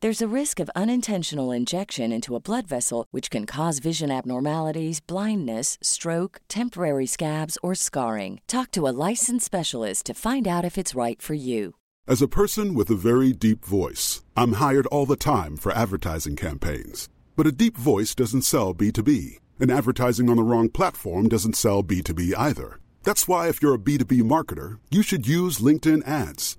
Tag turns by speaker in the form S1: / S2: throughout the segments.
S1: There's a risk of unintentional injection into a blood vessel, which can cause vision abnormalities, blindness, stroke, temporary scabs, or scarring. Talk to a licensed specialist to find out if it's right for you.
S2: As a person with a very deep voice, I'm hired all the time for advertising campaigns. But a deep voice doesn't sell B2B, and advertising on the wrong platform doesn't sell B2B either. That's why, if you're a B2B marketer, you should use LinkedIn ads.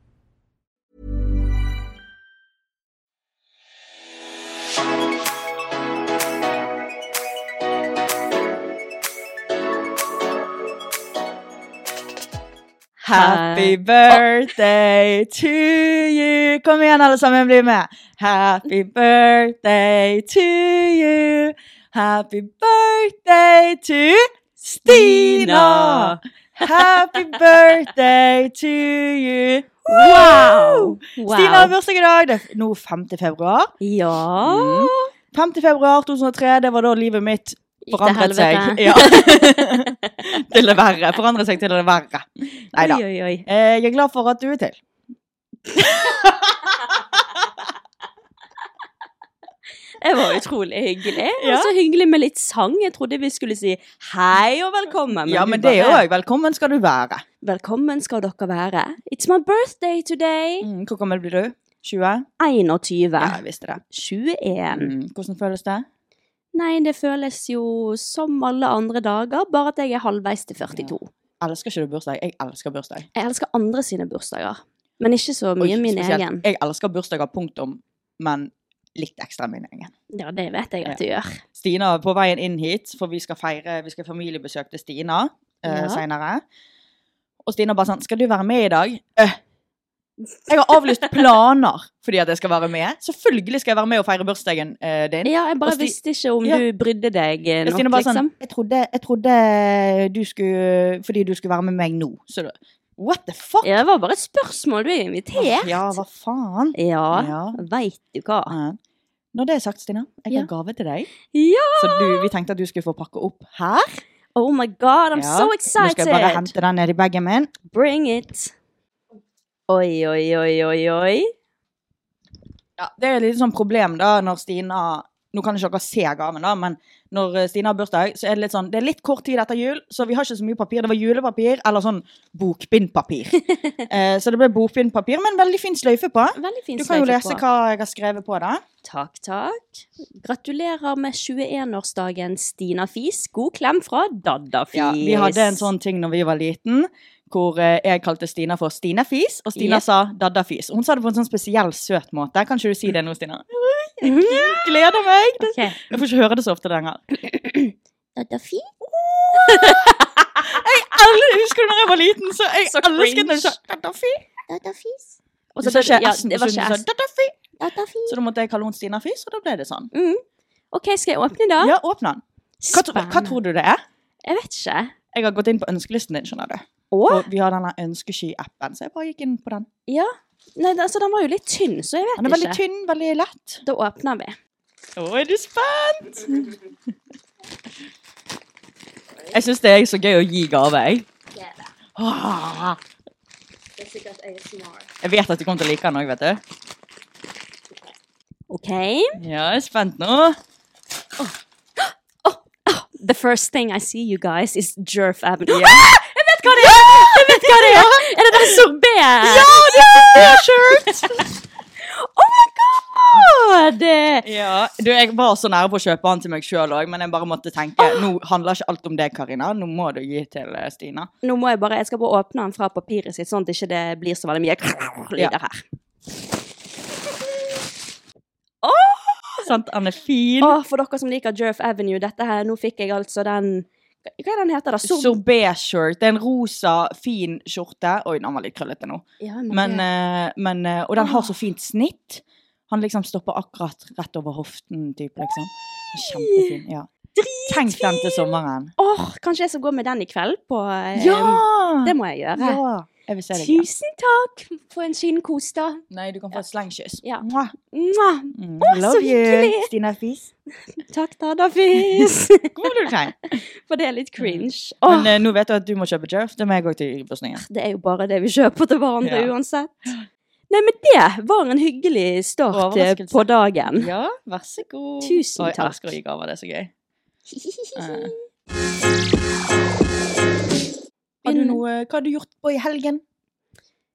S3: Happy birthday to you! Kom igjen, alle sammen, bli med! Happy birthday to you! Happy birthday to Stina! Happy birthday to you!
S4: Wow! Wow.
S3: Stina har bursdag i dag. Det er nå 5. februar.
S4: Ja.
S3: Mm. 5. februar 2003, det var da livet mitt
S4: Gikk til
S3: forandret seg.
S4: helvete.
S3: Ja. til det verre. Forandret seg til det verre. Nei da.
S4: Oi, oi, oi.
S3: Eh, Jeg er glad for at du er til.
S4: Det var utrolig hyggelig.
S3: Ja.
S4: Og så hyggelig med litt sang. Jeg trodde vi skulle si hei og velkommen.
S3: ja,
S4: du
S3: men det
S4: bare,
S3: òg. Velkommen skal du være.
S4: Velkommen skal dere være. It's my birthday today.
S3: Mm, hvor gammel blir du? 20?
S4: 21.
S3: Ja, jeg visste det.
S4: 21.
S3: Mm, hvordan føles det?
S4: Nei, det føles jo som alle andre dager, bare at jeg er halvveis til 42.
S3: Elsker ikke du bursdag? Jeg elsker bursdag.
S4: Jeg elsker andre sine bursdager, men ikke så
S3: Oi,
S4: mye min
S3: spesielt.
S4: egen.
S3: Jeg elsker bursdager, punktum, men litt ekstra min egen.
S4: Ja, det vet jeg at du gjør.
S3: Stina er på veien inn hit, for vi skal feire Vi skal familiebesøk til Stina eh,
S4: Ja.
S3: seinere. Og Stina bare sånn 'Skal du være med i dag?' Øh. Jeg har avlyst planer fordi at jeg skal være med. Selvfølgelig skal jeg være med og feire bursdagen eh, din.
S4: Ja, jeg
S3: Og
S4: bare
S3: Sti-
S4: visste ikke om
S3: Ja.
S4: du brydde deg eh, nok,
S3: Stine bare sånn
S4: liksom.
S3: jeg trodde, jeg trodde eh, du skulle Fordi du skulle være med meg nå. Så da What the fuck?
S4: Ja, det var bare et spørsmål. Du er invitert.
S3: Ja, hva faen?
S4: Ja,
S3: Ja.
S4: veit du hva.
S3: Ja. Når det er sagt, Stina, jeg
S4: Ja.
S3: har gave til deg.
S4: Ja!
S3: Så du, vi tenkte at du skulle få pakke opp her.
S4: Oh my god, I'm
S3: Ja.
S4: so
S3: Nå skal jeg bare
S4: excited!
S3: hente den ned i bagen min.
S4: Bring it! Oi, oi, oi, oi, oi.
S3: Ja, det er et lite sånn problem da, når Stina Nå kan ikke dere se gaven, da, men når eh, Stina har bursdag, så er det litt sånn Det er litt kort tid etter jul, så vi har ikke så mye papir. Det var julepapir eller sånn bokbindpapir. eh, så det ble bokbindpapir med en veldig fin sløyfe på.
S4: Veldig fin
S3: Du kan jo
S4: sløyfe
S3: lese
S4: på.
S3: hva jeg har skrevet på det.
S4: Takk, takk. Gratulerer med 21-årsdagen, Stina Fis. God klem fra Daddafis.
S3: Ja, vi hadde en sånn ting når vi var liten, hvor eh, jeg kalte Stina for Stina Fis, og Stina
S4: Yep.
S3: sa Dadda Fis. Hun sa det på en sånn spesiell søt måte. Kan ikke du si det nå, Stina? Gleder meg!
S4: Mhm. Ok.
S3: Jeg får ikke høre det så ofte lenger.
S4: Daddafi?
S3: Alle husker du når jeg var liten, så jeg
S4: Så
S3: elsket når du sa
S4: cringe.
S3: Dadda Fi.
S4: Daddafis?
S3: Og så sa ikke
S4: ja,
S3: S-en,
S4: det var
S3: så hun sa
S4: ikke S.
S3: Dadda Fi.
S4: Daddafi.
S3: Så da måtte jeg kalle henne Stina Fis, og da ble det sånn.
S4: Mm. OK, skal jeg åpne da?
S3: Ja, åpne den. Hva, tro- hva tror du det er?
S4: Jeg vet ikke.
S3: Jeg har gått inn på ønskelisten din, skjønner du.
S4: Og
S3: For vi har denne ønskesky-appen, så jeg bare gikk inn på den.
S4: Ja. Nei, altså, den var jo litt tynn, så jeg vet
S3: Den er veldig
S4: ikke.
S3: tynn, veldig lett.
S4: Da åpner vi.
S3: Å, er du spent? Jeg syns det er så gøy å gi gave, jeg. Åh, jeg vet at du kommer til å like den òg, vet du.
S4: OK.
S3: Ja, jeg er spent nå.
S4: The first thing I see you guys is Jerf Avenue.
S3: Ja.
S4: Ah! Jeg vet hva det er! Jeg vet hva det Er Er det den sorbet?
S3: Eh,
S4: Ja, det er T-shirt! oh my god!
S3: Ja, du, Jeg var så nære på å kjøpe den til meg sjøl òg, men jeg bare måtte tenke
S4: Ah!
S3: nå handler ikke alt om deg, Karina. Nå må du gi til eh, Stina.
S4: Nå må jeg bare Jeg skal bare åpne den fra papiret sitt, sånn at ikke det blir så veldig mye lyder
S3: Ja.
S4: her. Åh!
S3: Sant, den er fin.
S4: Åh, for dere som liker Jerf Avenue, dette her, nå fikk jeg altså den Hva er den heter, da? Sor-
S3: Sorbet-shirt. Det er en rosa, fin skjorte. Oi, den var litt krøllete nå.
S4: Ja, jeg må
S3: Men,
S4: det. Ah.
S3: eh, men, eh, og den har så fint snitt. Han liksom stopper akkurat rett over hoften, typ, liksom. Kjempefin, ja. Tenk den til sommeren.
S4: Åh, kanskje jeg skal gå med den i kveld på eh, Det må jeg gjøre.
S3: Ja! Jeg vil se deg. igjen.
S4: Tusen takk for en fin kos, da.
S3: Nei, du kan få et slengkyss.
S4: Ja.
S3: Mwah.
S4: Mwah.
S3: Mm,
S4: Å, så
S3: love you,
S4: hyggelig.
S3: Stina Fis.
S4: Takk, Dadafis.
S3: Kommer du til
S4: For det er litt cringe.
S3: Men
S4: Åh,
S3: eh, nå vet du at du må kjøpe Jerf. Det må jeg gå til bursdagen.
S4: det er jo bare det vi kjøper til hverandre
S3: Ja.
S4: uansett. Nei, men det var en hyggelig start eh,
S3: Overraskelse.
S4: på dagen.
S3: Ja, vær så god.
S4: Tusen
S3: Oi, Jeg
S4: takk.
S3: elsker å gi gaver, det er så gøy. Eh. Har du
S4: Begynn-
S3: noe, hva har du gjort på i helgen?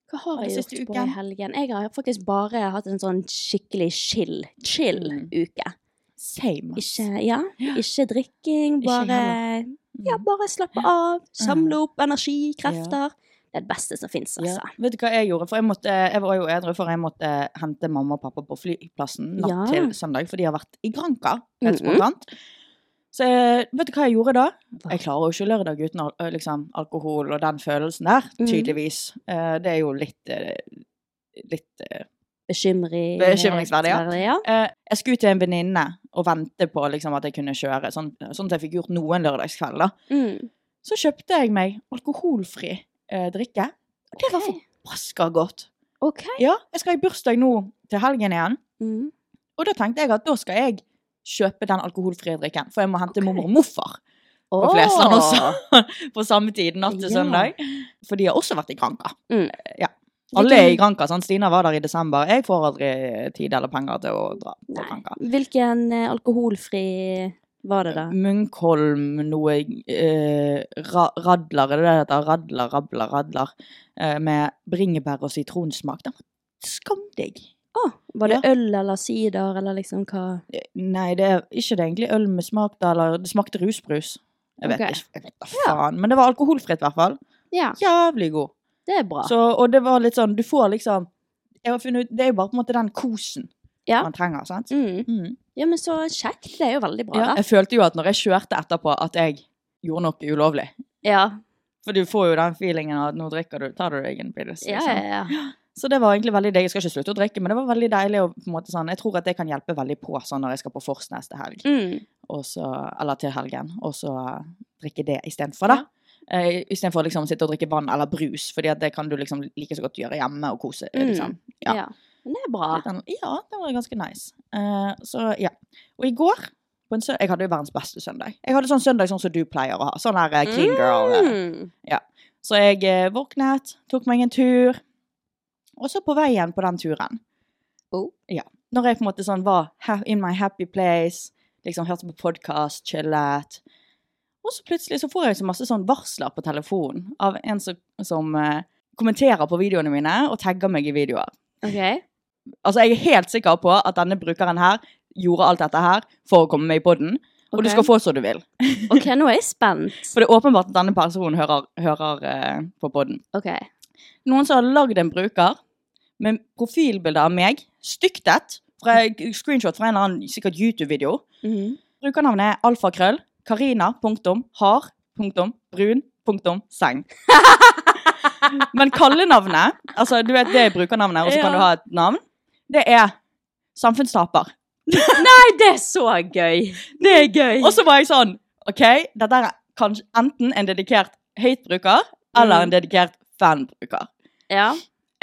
S4: Hva har
S3: Den
S4: jeg
S3: siste
S4: gjort på i
S3: uken?
S4: helgen? Jeg har faktisk bare hatt en sånn skikkelig chill, chill
S3: Mm.
S4: uke.
S3: Same.
S4: Ikke, ja,
S3: Ja.
S4: ikke drikking,
S3: Ikke
S4: bare,
S3: Mm.
S4: ja, bare slappe av, samle opp energi, krefter. Det er det beste som finnes,
S3: Ja.
S4: altså.
S3: Vet du hva jeg gjorde? For jeg, måtte, jeg var jo edru, for jeg måtte hente mamma og pappa på flyplassen natt
S4: Ja.
S3: til søndag, for de har vært i Granca, helt
S4: Mhm.
S3: spontant. Så eh, vet du hva jeg gjorde da?
S4: Hva?
S3: Jeg klarer jo ikke lørdag uten al eh, liksom, alkohol og den følelsen der,
S4: Mhm.
S3: tydeligvis. Eh, det er jo litt, eh, litt eh,
S4: Bekymring, eh,
S3: Bekymringsverdig, ja.
S4: ja.
S3: Eh, jeg skulle til en venninne og vente på liksom, at jeg kunne kjøre, sånn, sånn at jeg fikk gjort noen lørdagskveld. Da.
S4: Mm.
S3: Så kjøpte jeg meg alkoholfri eh, drikke. Og det var
S4: Ok.
S3: forbaska godt.
S4: OK.
S3: Ja, jeg skal i bursdag nå til helgen igjen,
S4: Mm.
S3: og da tenkte jeg at da skal jeg kjøpe den alkoholfrie drikken, for jeg må hente
S4: Ok.
S3: mormor og morfar på Flesland også på samme tid natt til
S4: Ja.
S3: søndag. For de har også vært i Granca.
S4: Mm.
S3: Ja. Alle er i
S4: Hvilken-
S3: Granca. sant? Stina var der i desember. Jeg får aldri tid eller penger til å dra på
S4: Nei.
S3: Granca.
S4: Hvilken eh, alkoholfri var
S3: Mm.
S4: det, da?
S3: Munkholm, noe eh, ra radler, er det det heter? Radler, rabler, radler. Eh, med bringebær og sitronsmak. Den var skamdigg.
S4: Å, var det øl eller sider, eller liksom hva?
S3: Eh, Nei, det er ikke det egentlig øl med smak, da, eller det smakte rusbrus. Jeg vet
S4: Ok.
S3: ikke, jeg vet da faen. Men det var alkoholfritt, i hvert fall.
S4: Ja,
S3: Jævlig god.
S4: det er bra.
S3: Så, og det var litt sånn, du får liksom jeg har funnet ut, Det er jo bare på en måte den kosen
S4: Ja.
S3: man trenger. sant?
S4: Mm.
S3: Mm.
S4: Ja, men så kjekt. Det er jo veldig bra,
S3: Ja,
S4: da.
S3: jeg følte jo at når jeg kjørte etterpå, at jeg gjorde noe ulovlig.
S4: Ja,
S3: For du får jo den feelingen av at nå drikker du, tar du deg en pils.
S4: ja,
S3: liksom.
S4: ja. ja.
S3: Så det var egentlig veldig deilig. Jeg skal ikke slutte å drikke, men det var veldig deilig. å på en måte sånn, jeg tror at det kan hjelpe veldig på sånn når jeg skal på Fors neste helg,
S4: Mm.
S3: og så- eller til helgen, og så eh, drikke det istedenfor, da. Eh, istedenfor å liksom sitte og drikke vann eller brus, fordi at det kan du liksom like så godt gjøre hjemme og kose.
S4: Mm.
S3: liksom. Ja.
S4: Ja. Men det er bra.
S3: Den, ja, det var ganske nice. Eh, så ja. Og i går på en sø jeg hadde jo verdens beste søndag. Jeg hadde sånn søndag sånn som du pleier å ha. Sånn her eh, clean girl. eh,
S4: Mm.
S3: så jeg eh, våknet, tok meg en tur, og så på veien på den turen.
S4: Oh.
S3: Ja. Når jeg på en måte sånn var ha- in my happy place, liksom hørte på podcast, chillet. Og så plutselig så får jeg så masse sånn varsler på telefonen av en som, som eh, kommenterer på videoene mine og tagger meg i videoer.
S4: OK.
S3: Altså, jeg er helt sikker på at denne brukeren her gjorde alt dette her for å komme meg i podden, og du
S4: Ok.
S3: skal få så du vil.
S4: OK, nå er jeg spent.
S3: For det er åpenbart at denne personen hører, hører eh, på podden.
S4: OK.
S3: noen som har lagd en bruker med profilbilde av meg, styktet, fra screenshot fra en eller annen sikkert YouTube-video.
S4: Mm.
S3: Brukernavnet er alfakrøll, karina, punktum, har, punktum, brun, punktum, seng. Men kallenavnet, altså du vet det er brukernavnet, og så kan
S4: Ja.
S3: du ha et navn, det er samfunnstaper.
S4: Nei, det er så gøy! Det er gøy.
S3: Og så var jeg sånn, ok, dette er kanskje enten en dedikert hate-bruker,
S4: Mm.
S3: eller en dedikert fanbruker.
S4: Ja.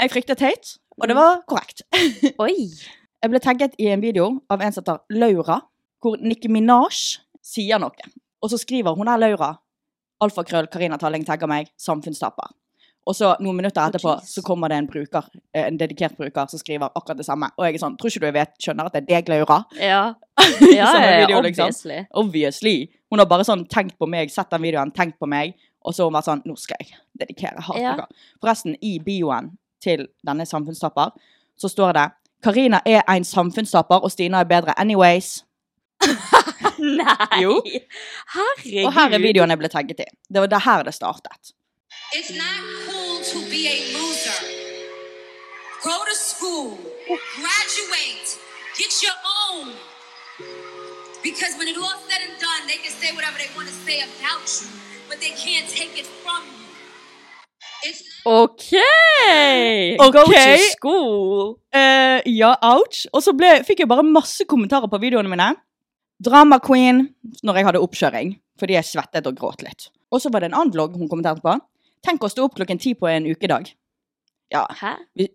S3: Jeg fryktet høyt, og det var korrekt.
S4: Oi.
S3: Jeg ble tagget i en video av en som heter Laura, hvor Nicki Minaj sier noe. Og så skriver hun her Laura, alfakrøll Karina Talling tagger meg, samfunnstapper. Og så noen minutter etterpå
S4: jeez.
S3: så kommer det en bruker, eh, en dedikert bruker som skriver akkurat det samme. Og jeg er sånn, tror ikke du jeg vet, skjønner at det er deg, Laura?
S4: Ja.
S3: I
S4: Ja,
S3: sånne
S4: ja, ja,
S3: videoer, liksom.
S4: obviously.
S3: Obviously. Hun har bare sånn tenkt på meg, sett den videoen, tenkt på meg, og så har hun vært sånn, nå skal jeg dedikere hatbruker. Forresten, i bioen til denne samfunnstapper, så står det, Karina er en samfunnstapper, og Stina er bedre anyways.
S4: Nei!
S3: Jo.
S4: Herregud.
S3: Og her er videoen jeg ble tagget i. Det var det her det startet.
S5: It's not cool to be a loser. Go to school, graduate, get your own. Because when it all said and done, they can say whatever they want to say about you, but they can't take it from you. It's not
S4: OK! Go
S3: Ok.
S4: to school.
S3: Eh, ja, ouch. Og så ble, fikk jeg bare masse kommentarer på videoene mine. Drama queen når jeg hadde oppkjøring, fordi jeg svettet og gråt litt. Og så var det en annen vlogg hun kommenterte på. Tenk å stå opp klokken ti på en ukedag. Ja,
S4: Hæ?
S3: vi,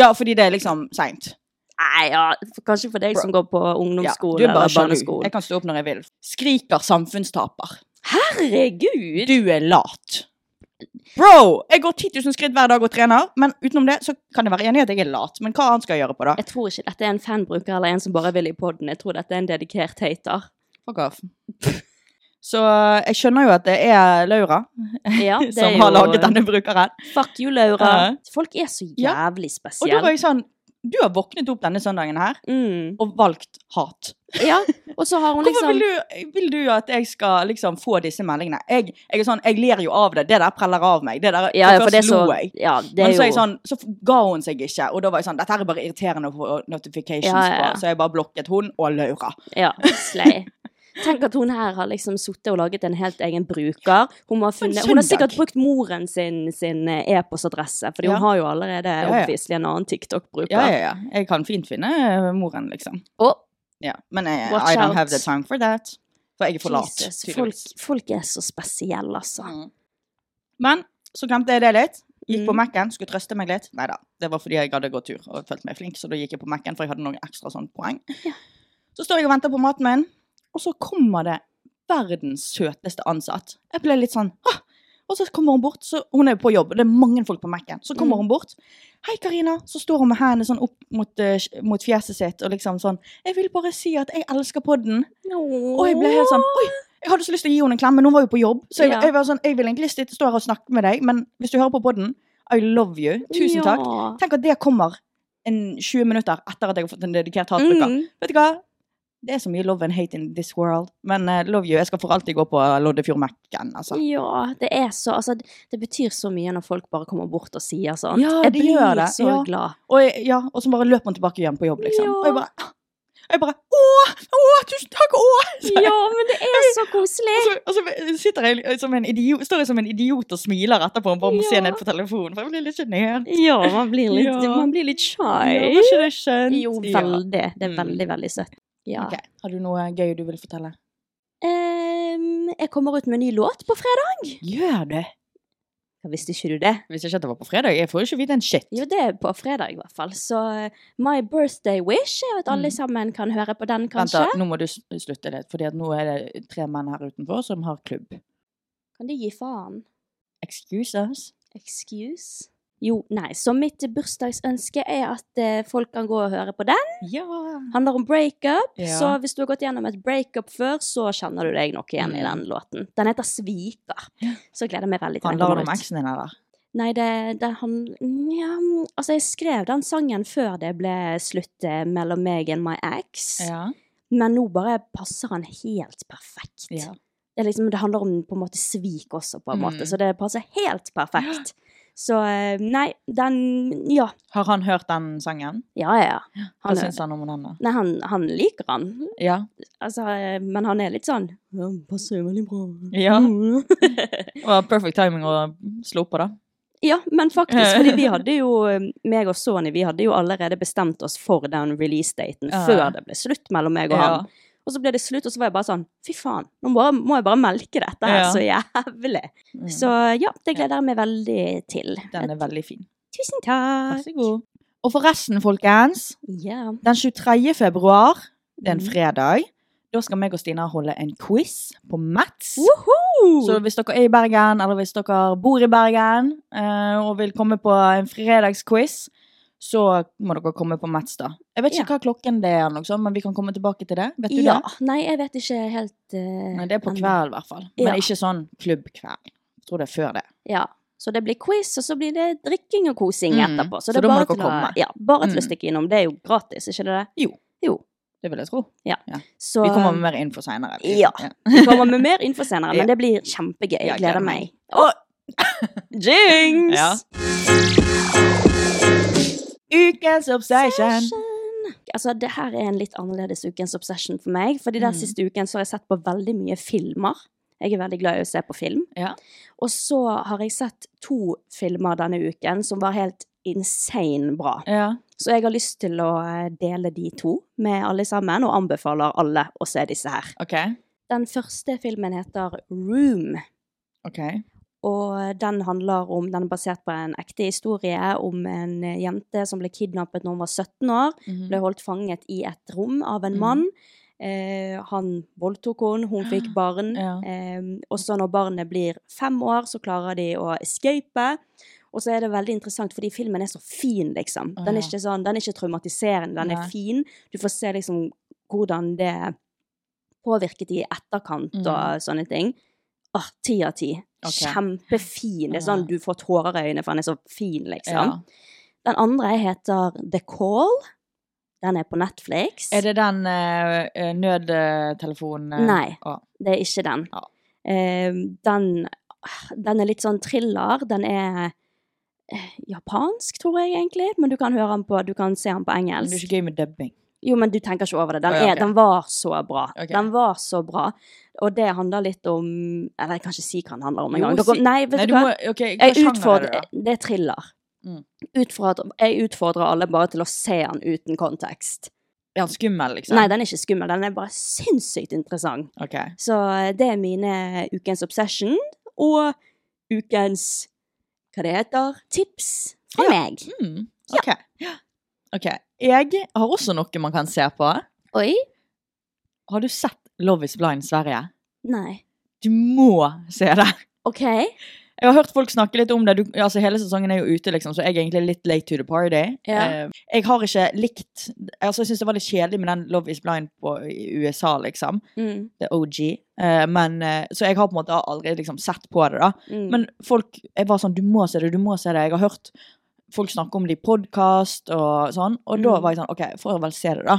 S3: ja fordi det er liksom seint.
S4: Nei, ja, kanskje for deg som går på
S3: Ja,
S4: ungdomsskole
S3: du er bare
S4: eller
S3: sjalu.
S4: barneskole.
S3: Jeg kan stå opp når jeg vil. Skriker samfunnstaper.
S4: Herregud!
S3: Du er lat. Bro, jeg går 10 000 skritt hver dag og trener, men utenom det så kan jeg være enig i at jeg er lat. Men hva annet skal jeg gjøre på, da?
S4: Jeg tror ikke dette er en fanbruker eller en som bare vil i podden. Jeg tror dette er en dedikert hater.
S3: Fuck off. Så eh, jeg skjønner jo at det er Laura
S4: Ja, det er
S3: som
S4: jo,
S3: har laget denne brukeren.
S4: Fuck you, Laura.
S3: Ja.
S4: Folk er så
S3: Ja.
S4: jævlig
S3: Og da var
S4: spesielle.
S3: jeg sånn Du har våknet opp denne søndagen her
S4: Mm.
S3: og valgt hat.
S4: Ja, og så har hun
S3: Hvorfor
S4: liksom
S3: vil du, vil du at jeg skal liksom få disse meldingene? Jeg, jeg er sånn, jeg ler jo av det. Det der preller av meg. Det der,
S4: ja, ja, for det er
S3: først
S4: så
S3: lo jeg.
S4: Ja, det er
S3: Men så, er jeg
S4: jo
S3: sånn, så ga hun seg ikke, og da var jeg sånn Dette her er bare irriterende å få notifications
S4: Ja, ja, ja.
S3: på, så jeg bare blokket hun og Laura.
S4: Ja, slay. Tenk at hun her har liksom sittet og laget en helt egen bruker. Hun, må ha funnet, hun har
S3: søndag.
S4: sikkert brukt moren sin, sin eh, e-postadresse, fordi
S3: Ja.
S4: hun har jo allerede
S3: ja.
S4: obviously en annen TikTok-bruker.
S3: Ja, ja, ja. Jeg kan fint finne eh, moren, liksom.
S4: Og
S3: Ja, men jeg,
S4: Watch
S3: I don't
S4: out.
S3: have the time for that. For jeg er for lat.
S4: Jesus, folk,
S3: tydeligvis.
S4: folk er så spesielle, altså.
S3: Mm. Men så glemte jeg det litt. Gikk på
S4: Mm.
S3: Mac-en, skulle trøste meg litt. Neida, det var fordi jeg hadde gått tur og følt meg flink, så da gikk jeg på Mac-en, for jeg hadde noen ekstra sånn poeng. Så står jeg og venter på maten min, og så kommer det verdens søteste ansatt. Jeg ble litt sånn, «Åh!» Og så kommer hun bort, så hun er jo på jobb, og det er mange folk på Mac-en. Så kommer
S4: Mm.
S3: hun bort, hei Karina, så står hun med hendene sånn opp mot, eh, mot fjeset sitt, og liksom sånn, jeg vil bare si at jeg elsker podden. Og jeg ble helt sånn Oi! Jeg hadde så lyst til å gi henne en klem, men hun var jo på jobb. Så jeg,
S4: Ja.
S3: jeg var sånn, jeg vil egentlig lyst til å stå her og snakke med deg, men hvis du hører på podden, I love you. Tusen
S4: Ja.
S3: takk. Tenk at det kommer en 20 minutter etter at jeg har fått en dedikert hatbruker.
S4: Mm.
S3: Vet du hva? Det er så mye love and hate in this world. Men eh, love you. Jeg skal for alltid gå på eh, Loddefjord Mac-en, altså.
S4: Ja, det er så Altså, det, det betyr så mye når folk bare kommer bort og sier sånt.
S3: Ja,
S4: jeg
S3: det
S4: blir
S3: gjør det,
S4: så
S3: ja.
S4: glad.
S3: Og, jeg- ja, og så bare løp hun tilbake igjen på jobb, liksom.
S4: Ja.
S3: Og jeg bare jeg bare Å! Å, tusen takk! Å! Så-
S4: Ja, men det er så koselig!
S3: Og så, og så sitter jeg som en idiot, står jeg som en idiot og smiler etterpå og bare må se
S4: Ja.
S3: ned på telefonen, for jeg blir litt sjenert.
S4: Ja, man blir litt,
S3: Ja.
S4: man blir litt
S3: Ja,
S4: shy.
S3: var ikke det skjønt?
S4: Jo,
S3: Ja.
S4: veldig. Det er
S3: Mm.
S4: veldig, veldig søtt. Ja.
S3: Ok, Har du noe gøy du vil fortelle?
S4: Ehm, jeg kommer ut med en ny låt på fredag.
S3: Gjør det!
S4: Ja, Visste ikke du det?
S3: Hvis ikke at det var på fredag. Jeg får jo ikke vite en shit.
S4: Jo, det er på fredag i hvert fall. Så eh, My Birthday Wish er jo at alle sammen kan høre på den,
S3: Mm. Vent,
S4: kanskje.
S3: da, nå må du s- slutte litt, for nå er det tre menn her utenfor som har klubb.
S4: Kan de gi faen?
S3: Excuse us.
S4: Excuse? Jo, nei. Så mitt bursdagsønske er at eh, folk kan gå og høre på den.
S3: Ja.
S4: Handler om breakup.
S3: Ja.
S4: Så hvis du har gått gjennom et breakup før, så kjenner du deg nok igjen i
S3: Mm.
S4: den låten. Den heter Sviker. Så jeg gleder meg veldig til den
S3: Handler det
S4: kommer
S3: om
S4: ut.
S3: eksen din, eller?
S4: Nei, det, det han Nja Altså, jeg skrev den sangen før det ble slutt eh, mellom meg and my ex,
S3: Ja.
S4: men nå bare passer han helt perfekt.
S3: Ja.
S4: Det, er liksom, det handler om på en måte svik også, på en måte,
S3: Mm.
S4: så det passer helt perfekt. Så eh, nei, den Ja,
S3: Har han hørt den sangen?
S4: ja, ja. ja.
S3: Hva
S4: Han,
S3: syns han om den? da?
S4: nei, han, han liker han,
S3: Ja.
S4: altså, eh, men han er litt sånn ja, den Passer jo veldig bra. Mm.
S3: Ja. Det var perfect timing å slå på, da.
S4: Ja, men faktisk, fordi vi hadde jo, eh, meg og Sony, vi hadde jo allerede bestemt oss for den release-daten
S3: Ja.
S4: før det ble slutt mellom meg og
S3: Ja.
S4: han. Og så ble det slutt, og så var jeg bare sånn Fy faen, nå må, må jeg bare melke dette her
S3: Ja.
S4: så jævlig.
S3: Mm.
S4: Så ja, det gleder jeg meg veldig til.
S3: Den er veldig fin.
S4: Tusen
S3: Vær
S4: takk.
S3: så god. Og forresten, folkens.
S4: Ja.
S3: Den 23. februar, det er en
S4: Mm.
S3: fredag, da skal meg og Stina holde en quiz på Mats.
S4: Woho!
S3: Så hvis dere er i Bergen, eller hvis dere bor i Bergen eh, og vil komme på en fredagsquiz, så må dere komme på Mats, da. Jeg vet ikke hva klokken det er, eller noe sånt, men vi kan komme tilbake til det. Vet du
S4: ja.
S3: det?
S4: Nei, jeg vet ikke helt eh,
S3: Nei, det er på
S4: ennå.
S3: kveld, i hvert fall. Men
S4: Ja.
S3: ikke sånn klubbkveld. Jeg tror det er før det.
S4: Ja. Så det blir quiz, og så blir det drikking og kosing
S3: Mm.
S4: etterpå. Så,
S3: Så
S4: det er
S3: da må
S4: bare
S3: dere
S4: til å,
S3: komme.
S4: ja, bare til å
S3: Mm.
S4: stikke innom. Det er jo gratis, ikke det? det?
S3: Det vil jeg tro.
S4: Så
S3: Vi kommer med mer info seinere.
S4: Ja. vi kommer med mer info senere,
S3: Ja.
S4: men det blir kjempegøy.
S3: Jeg
S4: Jeg gleder
S3: gleder
S4: meg. Og jinx!
S3: Ja. Ukens obsession.
S4: Altså, det her er en litt annerledes ukens obsession for meg. For de der
S3: Mm.
S4: siste uken så har jeg sett på veldig mye filmer. Jeg er veldig glad i å se på film.
S3: Ja.
S4: Og så har jeg sett to filmer denne uken som var helt insane bra.
S3: Ja.
S4: Så jeg har lyst til å eh, dele de to med alle sammen, og anbefaler alle å se disse her.
S3: OK.
S4: Den første filmen heter Room,
S3: OK.
S4: og den handler om Den er basert på en ekte historie om en eh, jente som ble kidnappet når hun var 17 år
S3: Mhm.
S4: ble holdt fanget i et rom av en
S3: Mhm.
S4: mann. Eh, han voldtok henne, hun fikk barn.
S3: Ja.
S4: Eh, og så når barnet blir fem år, så klarer de å escape. Og så er det veldig interessant, fordi filmen er så fin, liksom.
S3: Å,
S4: Den
S3: ja.
S4: er ikke, sånn, den er ikke traumatiserende, den
S3: Nei.
S4: er fin. Du får se liksom hvordan det påvirket de i etterkant
S3: Mhm.
S4: og sånne ting. Åh, ti av ti.
S3: Ok.
S4: Kjempefin. Det er sånn
S3: Ja.
S4: du får tårer i øynene, for den er så fin, liksom.
S3: Ja.
S4: Den andre heter The Call. Den er på Netflix.
S3: Er det den uh, nødtelefonen eh,
S4: Nei.
S3: å,
S4: Det er ikke den.
S3: Ja.
S4: Eh, den, den er litt sånn thriller. Den er eh, japansk, tror jeg egentlig, men du kan, høre den på, du kan se den på
S3: men Det er
S4: engelsk.
S3: ikke gøy med dubbing.
S4: Jo, men du tenker ikke over det. Den,
S3: Å, ja,
S4: er,
S3: ok.
S4: den var så bra.
S3: Ok.
S4: Den var så bra. Og det handler litt om Eller jeg kan ikke si hva den handler om
S3: Jo,
S4: engang.
S3: si-
S4: Dere- Nei, vet
S3: Nei,
S4: du
S3: du
S4: hva?
S3: må OK, hva
S4: Jeg
S3: sjanger er det,
S4: utfordrer,
S3: da?
S4: det er thriller.
S3: Mm.
S4: Utfordrer, jeg utfordrer alle bare til å se den uten kontekst.
S3: Er han skummel, liksom?
S4: Nei, den er ikke skummel. Den er bare sinnssykt interessant.
S3: OK.
S4: Så eh, det er mine ukens obsession og ukens hva det heter tips fra
S3: Ja.
S4: meg.
S3: Mm, OK. OK. Jeg har også noe man kan se på.
S4: Oi?
S3: Har du sett Love is blind Sverige?
S4: Nei.
S3: Du må se det!
S4: OK.
S3: Jeg har hørt folk snakke litt om det. Du, altså, hele sesongen er jo ute, liksom, så jeg er egentlig litt late to the party.
S4: Ja.
S3: Eh, jeg har ikke likt altså, Jeg syns det var litt kjedelig med den Love is blind på, i USA, liksom.
S4: Mm,
S3: Det er OG. Eh, men, eh, så jeg har på en måte aldri liksom, sett på det, da.
S4: mm.
S3: Men folk jeg var sånn Du må se det, du må se det. Jeg har hørt folk snakke om det i podkast og sånn. Og da
S4: Mm.
S3: var jeg sånn OK, får jeg vel se det, da.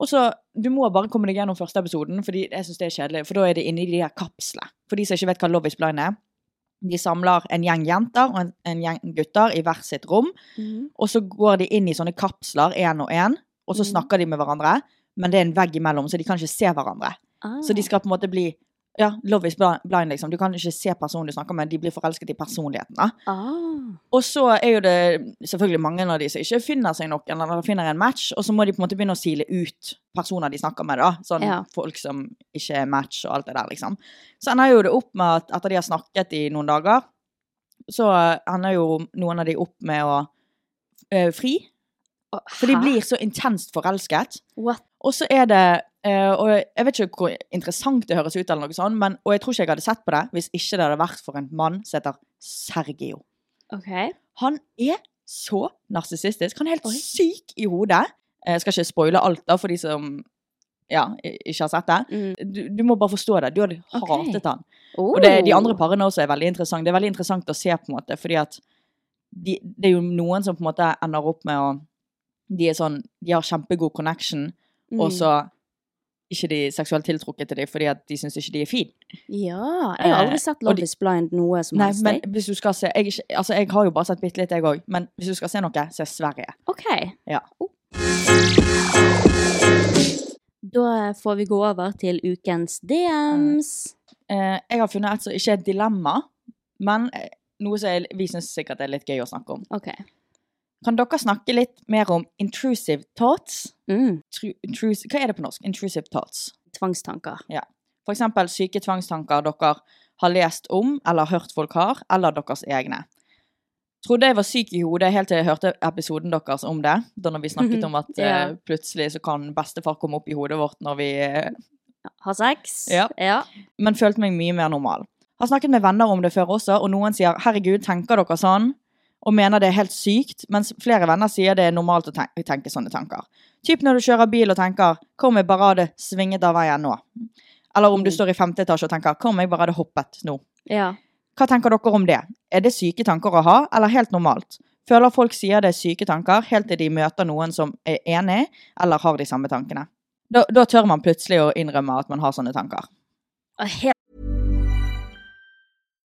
S3: Og så, Du må bare komme deg gjennom første episoden, Fordi jeg syns det er kjedelig. For da er det inni de her kapslene. For de som ikke vet hva Love is blind er. De samler en gjeng jenter og en, en gjeng gutter i hvert sitt rom.
S4: Mhm.
S3: Og så går de inn i sånne kapsler én og én, og så
S4: Mm.
S3: snakker de med hverandre. Men det er en vegg imellom, så de kan ikke se hverandre.
S4: Ah.
S3: Så de skal på en måte bli Ja, love is bli- blind, liksom. Du kan ikke se personen du snakker med, de blir forelsket i personligheten. da.
S4: ah.
S3: Og så er jo det selvfølgelig mange av de som ikke finner seg noen, eller finner en match, og så må de på en måte begynne å sile ut personer de snakker med, da. Sånn
S4: Ja.
S3: folk som ikke er match og alt det der, liksom. Så ender jo det opp med at etter de har snakket i noen dager, så ender jo noen av de opp med å eh, fri.
S4: Å,
S3: For de
S4: hæ?
S3: blir så intenst forelsket.
S4: What?
S3: Og så er det eh, Og jeg vet ikke hvor interessant det høres ut, eller noe sånt, men, og jeg tror ikke jeg hadde sett på det hvis ikke det hadde vært for en mann som heter Sergio.
S4: OK.
S3: Han er så narsissistisk. Han er helt
S4: Oi.
S3: syk i hodet. Jeg skal ikke spoile alt, da, for de som ja, ikke har sett det.
S4: Mm.
S3: Du, du må bare forstå det. Du hadde
S4: Ok.
S3: hatet han. Og det, de andre
S4: Oh.
S3: parene også er veldig interessante. Det er veldig interessant å se, på en måte, fordi at de, det er jo noen som på en måte ender opp med å De er sånn De har kjempegod connection, og
S4: Mm.
S3: så ikke de seksuelt tiltrukket til dem fordi at de syns ikke de er fine.
S4: Ja. Jeg har
S3: Eh,
S4: aldri sett
S3: og
S4: Love
S3: de-
S4: is Blind noe som
S3: Nei,
S4: helst.
S3: men
S4: jeg.
S3: hvis du skal se jeg, er ikke- altså, jeg har jo bare sett bitte litt, jeg òg, men hvis du skal se noe, se Sverige.
S4: OK.
S3: Ja.
S4: Oh. Da får vi gå over til ukens DMs.
S3: Eh, jeg har funnet et som ikke er et dilemma, men eh, noe som jeg, vi syns sikkert er litt gøy å snakke om.
S4: OK.
S3: Kan dere snakke litt mer om intrusive thoughts?
S4: Mm.
S3: Tru- intrus- hva er det på norsk? Intrusive thoughts.
S4: Tvangstanker.
S3: For eksempel syke tvangstanker dere har lest om eller hørt folk har, eller deres egne. Trodde jeg var syk i hodet helt til jeg hørte episoden deres om det. Da når vi snakket om at
S4: Ja.
S3: eh, plutselig så kan bestefar komme opp i hodet vårt når vi eh,
S4: Har sex.
S3: Ja. Men følte meg mye mer normal. Har snakket med venner om det før også, og noen sier 'herregud, tenker dere sånn?' og mener det er helt sykt, mens flere venner sier det er normalt å tenke, tenke sånne tanker. Typ når du kjører bil og tenker 'kom jeg bare hadde svinget av veien nå'. Eller om du
S4: Mm.
S3: står i femte etasje og tenker 'kom jeg bare hadde hoppet nå'.
S4: ja.
S3: Hva tenker dere om det? Er det syke tanker å ha, eller helt normalt? Føler folk sier det er syke tanker, helt til de møter noen som er enig, eller har de samme tankene. Da, da tør man plutselig å innrømme at man har sånne tanker.
S4: Og Helt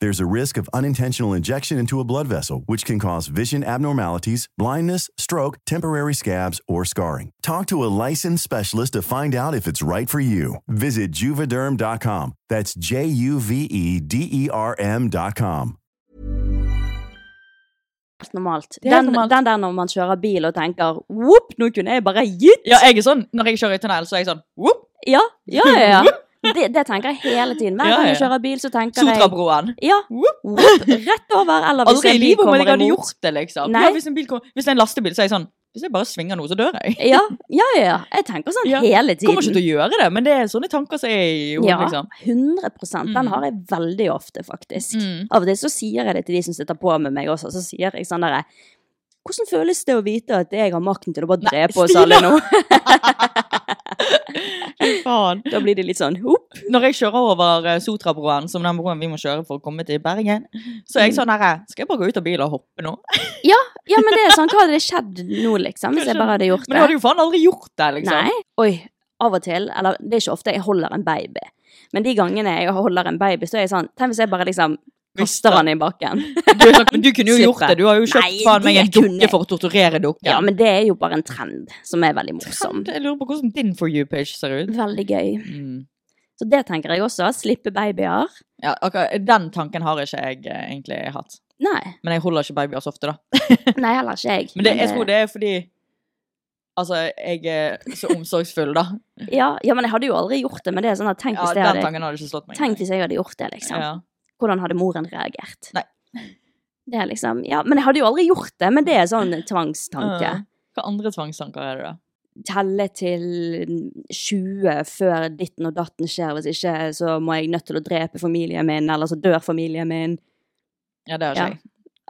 S6: There's a risk of unintentional injection into a blood vessel, which can cause vision abnormalities, blindness, stroke, temporary scabs, or scarring. Talk to a licensed specialist to find out if it's right for you. Visit juvederm.com. That's J U V E D E R M.com.
S4: normalt.
S3: Det er helt
S4: Den,
S3: normalt.
S4: den der når man kjører bil og tenker Whoop, nå kunne jeg bare gitt!
S3: Ja, jeg er sånn. Når jeg kjører i tunnel, så er jeg sånn whoop,
S4: Ja, ja, ja. ja. Det, det tenker jeg hele tiden. Hver
S3: Ja,
S4: gang
S3: ja.
S4: jeg kjører bil, så tenker jeg
S3: Sotrabroen.
S4: Ja,
S3: Whoop.
S4: whoop, rett over, eller hvis
S3: Aldri i
S4: en bil
S3: livet om
S4: kommer
S3: jeg hadde
S4: imot.
S3: gjort det, liksom.
S4: Nei.
S3: Ja, hvis, en bil kom, hvis det er en lastebil, så er jeg sånn Hvis jeg bare svinger nå, så dør jeg.
S4: Ja, ja, ja. ja. Jeg tenker sånn
S3: Ja.
S4: hele tiden.
S3: Kommer ikke til å gjøre det, men det er sånne tanker som er i hodet,
S4: ja,
S3: liksom.
S4: 100 Den
S3: Mm.
S4: har jeg veldig ofte, faktisk.
S3: Mm.
S4: Av og til så sier jeg det til de som sitter på med meg også. Så sier jeg sånn derre Hvordan føles det å vite at jeg har makten til å bare drepe oss
S3: Stina!»
S4: alle nå?
S3: Faen.
S4: Da blir de litt sånn hopp.
S3: Når jeg kjører over eh, Sotrabroen, som den broen vi må kjøre for å komme til Bergen, så
S4: Mm.
S3: er jeg sånn herre Skal jeg bare gå ut av bilen og hoppe nå?
S4: Ja, men det er sånn, hva hadde det skjedd nå, liksom? Hvis jeg bare hadde gjort
S3: Men du hadde
S4: det?
S3: jo faen aldri gjort det, liksom.
S4: Nei. Oi. Av og til, eller det er ikke ofte, jeg holder en baby. Men de gangene jeg holder en baby, så er jeg sånn Tenk hvis jeg bare liksom kaster han i bakken.
S3: Du, er sånn, men du kunne jo
S4: Slipp
S3: gjort det.
S4: det.
S3: Du har jo kjøpt
S4: Nei,
S3: faen meg
S4: det
S3: en
S4: kunne
S3: dukke
S4: jeg.
S3: for å torturere dukken.
S4: Ja, men det er jo bare en trend som er veldig morsom.
S3: Jeg lurer på hvordan din for you-page ser ut.
S4: Veldig gøy.
S3: Mm.
S4: Så det tenker jeg også. Slippe babyer.
S3: Ja, akkurat Den tanken har ikke jeg eh, egentlig hatt.
S4: Nei.
S3: Men jeg holder ikke babyer så ofte, da.
S4: Nei, heller ikke jeg.
S3: Men det, jeg tror det er fordi Altså, jeg er så omsorgsfull, da.
S4: Ja, ja, men jeg hadde jo aldri gjort det, men det er sånn at tenk
S3: Ja,
S4: hvis, det
S3: den
S4: hadde,
S3: tanken hadde ikke slått meg.
S4: tenk hvis jeg hadde gjort det, liksom.
S3: Ja.
S4: Hvordan hadde moren reagert?
S3: Nei.
S4: Det er liksom, ja, men jeg hadde jo aldri gjort det, men det er sånn tvangstanke.
S3: Ja. Hva andre tvangstanker er det, da?
S4: Telle til 20 før ditten og datten skjer, hvis ikke så må jeg nødt til å drepe familien min, eller så dør familien min.
S3: Ja, det har ikke
S4: Ja.
S3: jeg.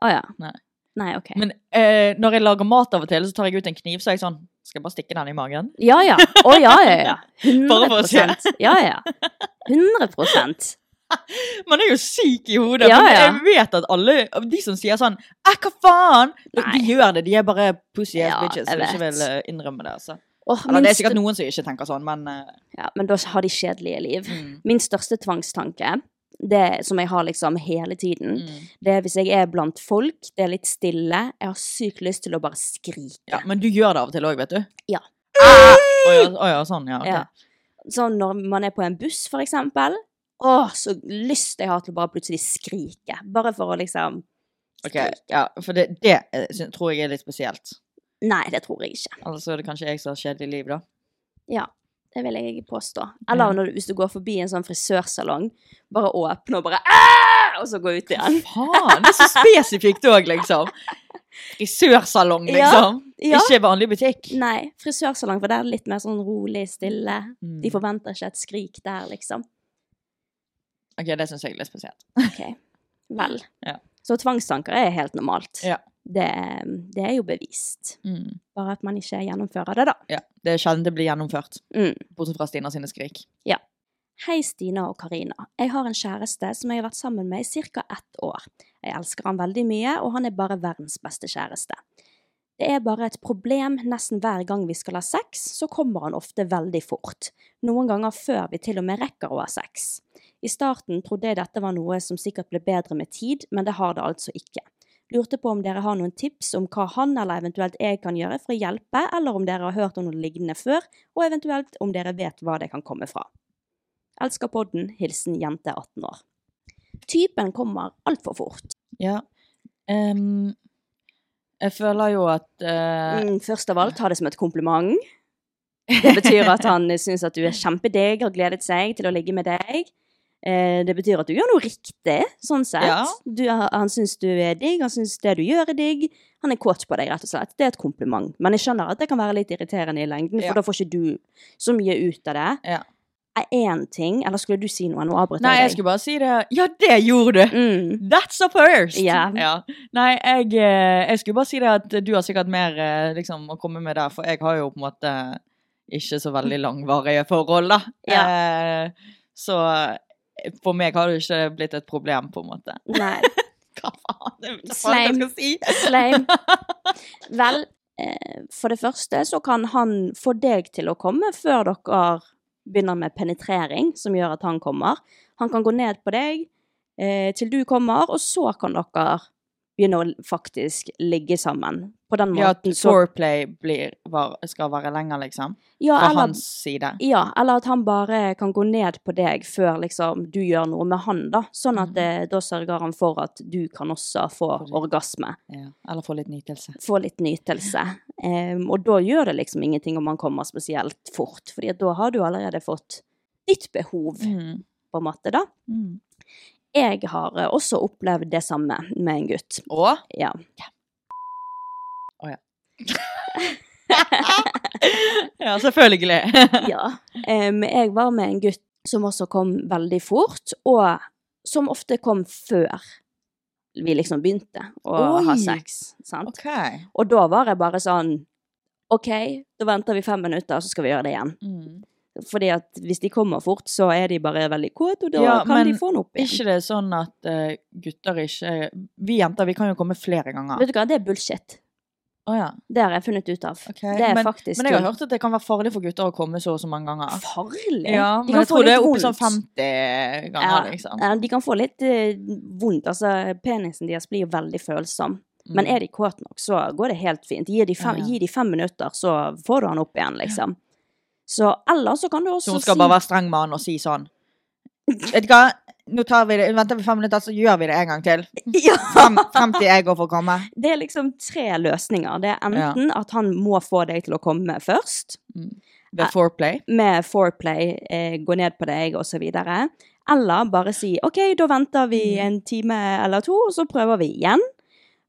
S4: Å ja.
S3: Nei.
S4: Nei, ok.
S3: Men eh, når jeg lager mat av og til, så tar jeg ut en kniv, så er jeg sånn Skal jeg bare stikke den i magen?
S4: Ja, ja. Å ja, ja, ja.
S3: Bare for å se.
S4: 100 Ja, ja. 100
S3: Man er jo syk i hodet.
S4: Ja,
S3: men
S4: ja.
S3: jeg vet at alle av de som sier sånn Æ, hva faen? De, de gjør det. De er bare pussy ass
S4: Ja,
S3: bitches
S4: jeg
S3: som ikke
S4: vet.
S3: vil eh, innrømme det. Altså.
S4: Åh,
S3: Eller,
S4: min
S3: det er sikkert
S4: st-
S3: noen som ikke tenker sånn, men eh,
S4: ja, Men da har de kjedelige liv.
S3: mm,
S4: Min største tvangstanke, det som jeg har liksom hele tiden,
S3: mm.
S4: det er hvis jeg er blant folk, det er litt stille, jeg har sykt lyst til å bare skrike.
S3: ja, Men du gjør det av og til òg, vet du.
S4: Ja.
S3: Ah! Å ja, å ja, sånn, ja. ok.
S4: Ja. Sånn når man er på en buss, for eksempel. Åh, så lyst jeg har til å bare plutselig skrike. Bare for å liksom
S3: Ok, ja, for det, det eh, syn- tror jeg er litt spesielt.
S4: Nei, det tror jeg ikke.
S3: Ellers er det kanskje jeg som har kjedelig liv, da.
S4: Det vil jeg påstå. Eller
S3: Mm.
S4: når du, hvis du går forbi en sånn frisørsalong, bare åpne og bare «Æ!» Og så gå ut igjen.
S3: Faen, det er så spesifikt òg, liksom. Frisørsalong,
S4: Ja,
S3: liksom.
S4: Ja.
S3: Ikke vanlig butikk.
S4: Nei, frisørsalong, for det er det litt mer sånn rolig, stille.
S3: Mm.
S4: De forventer ikke et skrik der, liksom.
S3: Ok, det syns jeg er litt spesielt.
S4: Ok, vel.
S3: Ja.
S4: Så tvangstanker er helt normalt.
S3: Ja. Mm.
S4: Det, det er jo bevist. Bare at man ikke gjennomfører det, da.
S3: Ja, Det er sjelden det blir gjennomført,
S4: Mm.
S3: bortsett fra Stina sine skrik.
S4: Hei, Stina og Karina. Jeg har en kjæreste som jeg har vært sammen med i ca. ett år. Jeg elsker han veldig mye, og han er bare verdens beste kjæreste. Det er bare et problem nesten hver gang vi skal ha sex, så kommer han ofte veldig fort. Noen ganger før vi til og med rekker å ha sex. I starten trodde jeg dette var noe som sikkert ble bedre med tid, men det har det altså ikke. Lurte på om dere har noen tips om hva han eller eventuelt jeg kan gjøre for å hjelpe, eller om dere har hørt om noe lignende før, og eventuelt om dere vet hva det kan komme fra. Elsker podden. Hilsen jente 18 år. Typen kommer altfor fort.
S3: Ja. Ehm, jeg føler jo at eh,
S4: Mm, først av alt, ta det som et kompliment. Det betyr at han syns at du er kjempedigg, har gledet seg til å ligge med deg. Eh, Det betyr at du gjør noe riktig, sånn sett.
S3: Ja.
S4: Du, han syns du er digg, han syns det du gjør er digg. Han er kåt på deg, rett og slett. Det er et kompliment. Men jeg skjønner at det kan være litt irriterende i lengden,
S3: Ja.
S4: for da får ikke du så mye ut av det.
S3: Ja.
S4: Er én ting Eller skulle du si noe? Nå avbryter
S3: Nei, jeg
S4: jeg deg.
S3: skulle bare si det. Ja, det gjorde du!
S4: Mm.
S3: That's a first!
S4: Ja.
S3: Nei, jeg, eh, jeg skulle bare si det at du har sikkert mer eh, liksom, å komme med der, for jeg har jo på en måte ikke så veldig langvarige forhold, da.
S4: Ja.
S3: Eh, så eh, for meg har det ikke blitt et problem, på en måte.
S4: Nei.
S3: Hva faen? Jeg vet ikke hva jeg
S4: Slime.
S3: skal si.
S4: Slame. Vel, eh, for det første så kan han få deg til å komme før dere begynner med penetrering, som gjør at han kommer. Han kan gå ned på deg eh, til du kommer, og så kan dere begynne å faktisk ligge sammen. På den
S3: Ja, at
S4: måten så
S3: foreplay blir, var, skal være lenger, liksom.
S4: ja,
S3: Fra
S4: eller,
S3: hans side.
S4: ja, eller at han bare kan gå ned på deg før liksom, du gjør noe med han, da. Sånn at
S3: Mhm.
S4: eh, da sørger han for at du kan også få
S3: Fordi-
S4: orgasme.
S3: Ja. Eller få litt nytelse.
S4: få litt nytelse. Em, og da gjør det liksom ingenting om man kommer spesielt fort, fordi at da har du allerede fått ditt behov,
S3: Mm.
S4: på en måte, da.
S3: Mm.
S4: Jeg har eh, også opplevd det samme med en gutt.
S3: Og
S4: Ja.
S3: Ja, selvfølgelig.
S4: ja. Em, jeg var med en gutt som også kom veldig fort, og som ofte kom før vi liksom begynte å ha
S3: Oi.
S4: sex. Sant?
S3: OK.
S4: Og da var jeg bare sånn OK, da venter vi fem minutter, så skal vi gjøre det igjen.
S3: Mm.
S4: Fordi at hvis de kommer fort, så er de bare veldig kåte, og da
S3: Ja,
S4: kan de
S3: men
S4: få den opp igjen.
S3: Ikke det sånn at eh, gutter ikke Vi jenter vi kan jo komme flere ganger.
S4: Vet du hva, det er bullshit.
S3: Å ja.
S4: Det har jeg funnet ut av.
S3: ok.
S4: Det er
S3: men,
S4: faktisk
S3: men jeg har
S4: tull.
S3: hørt at det kan være farlig for gutter å komme så og så mange ganger.
S4: farlig.
S3: Ja,
S4: De
S3: men
S4: kan
S3: jeg
S4: få
S3: tror det
S4: litt
S3: er oppe sånn
S4: vondt.
S3: 50
S4: Ja,
S3: ganger, liksom.
S4: ja, de kan få litt eh, vondt. Altså, penisen deres blir jo veldig følsom. Men er de kåte nok, så går det helt fint. Gi de fem,
S3: Mm. Ja, ja.
S4: gi de fem minutter, så får du han opp igjen, liksom. Så eller så kan du også
S3: Så hun skal bare være streng med han og si sånn Vet du hva, nå tar vi det, venter vi fem minutter, så gjør vi det en gang til.
S4: si ja,
S3: Frem, frem til jeg går for å komme.
S4: Det er liksom tre løsninger. Det er enten at han må få deg til å komme først,
S3: Ved foreplay.
S4: med foreplay, eh, gå ned på deg og så videre. Eller bare si OK, da venter vi
S3: Mm.
S4: en time eller to, og så prøver vi igjen.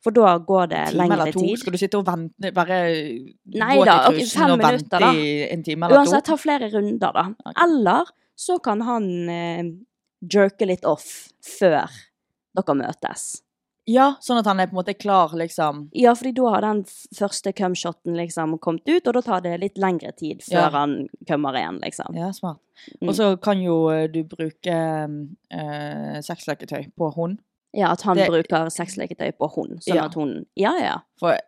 S4: For da går det
S3: Time
S4: lengre
S3: eller to.
S4: tid.
S3: Skal du sitte og vente, bare
S4: Nei
S3: gå til
S4: da, ok,
S3: cruisen
S4: fem
S3: og vente
S4: minutter, da.
S3: i en time eller
S4: Uansett,
S3: to?
S4: ta flere runder, da.
S3: Ok.
S4: Eller så kan han eh, jerke litt off før dere møtes.
S3: Ja, sånn at han er på en måte klar, liksom.
S4: Ja, fordi da har den f- første cumshoten liksom kommet ut, og da tar det litt lengre tid før
S3: Ja.
S4: han kommer igjen, liksom.
S3: Ja, smart.
S4: Mm.
S3: Og så kan jo eh, du bruke eh, sexleketøy på hund.
S4: Ja, at han
S3: Det-
S4: bruker sexleketøy på hun, sånn
S3: Ja.
S4: at hun Ja, ja.
S3: For eh,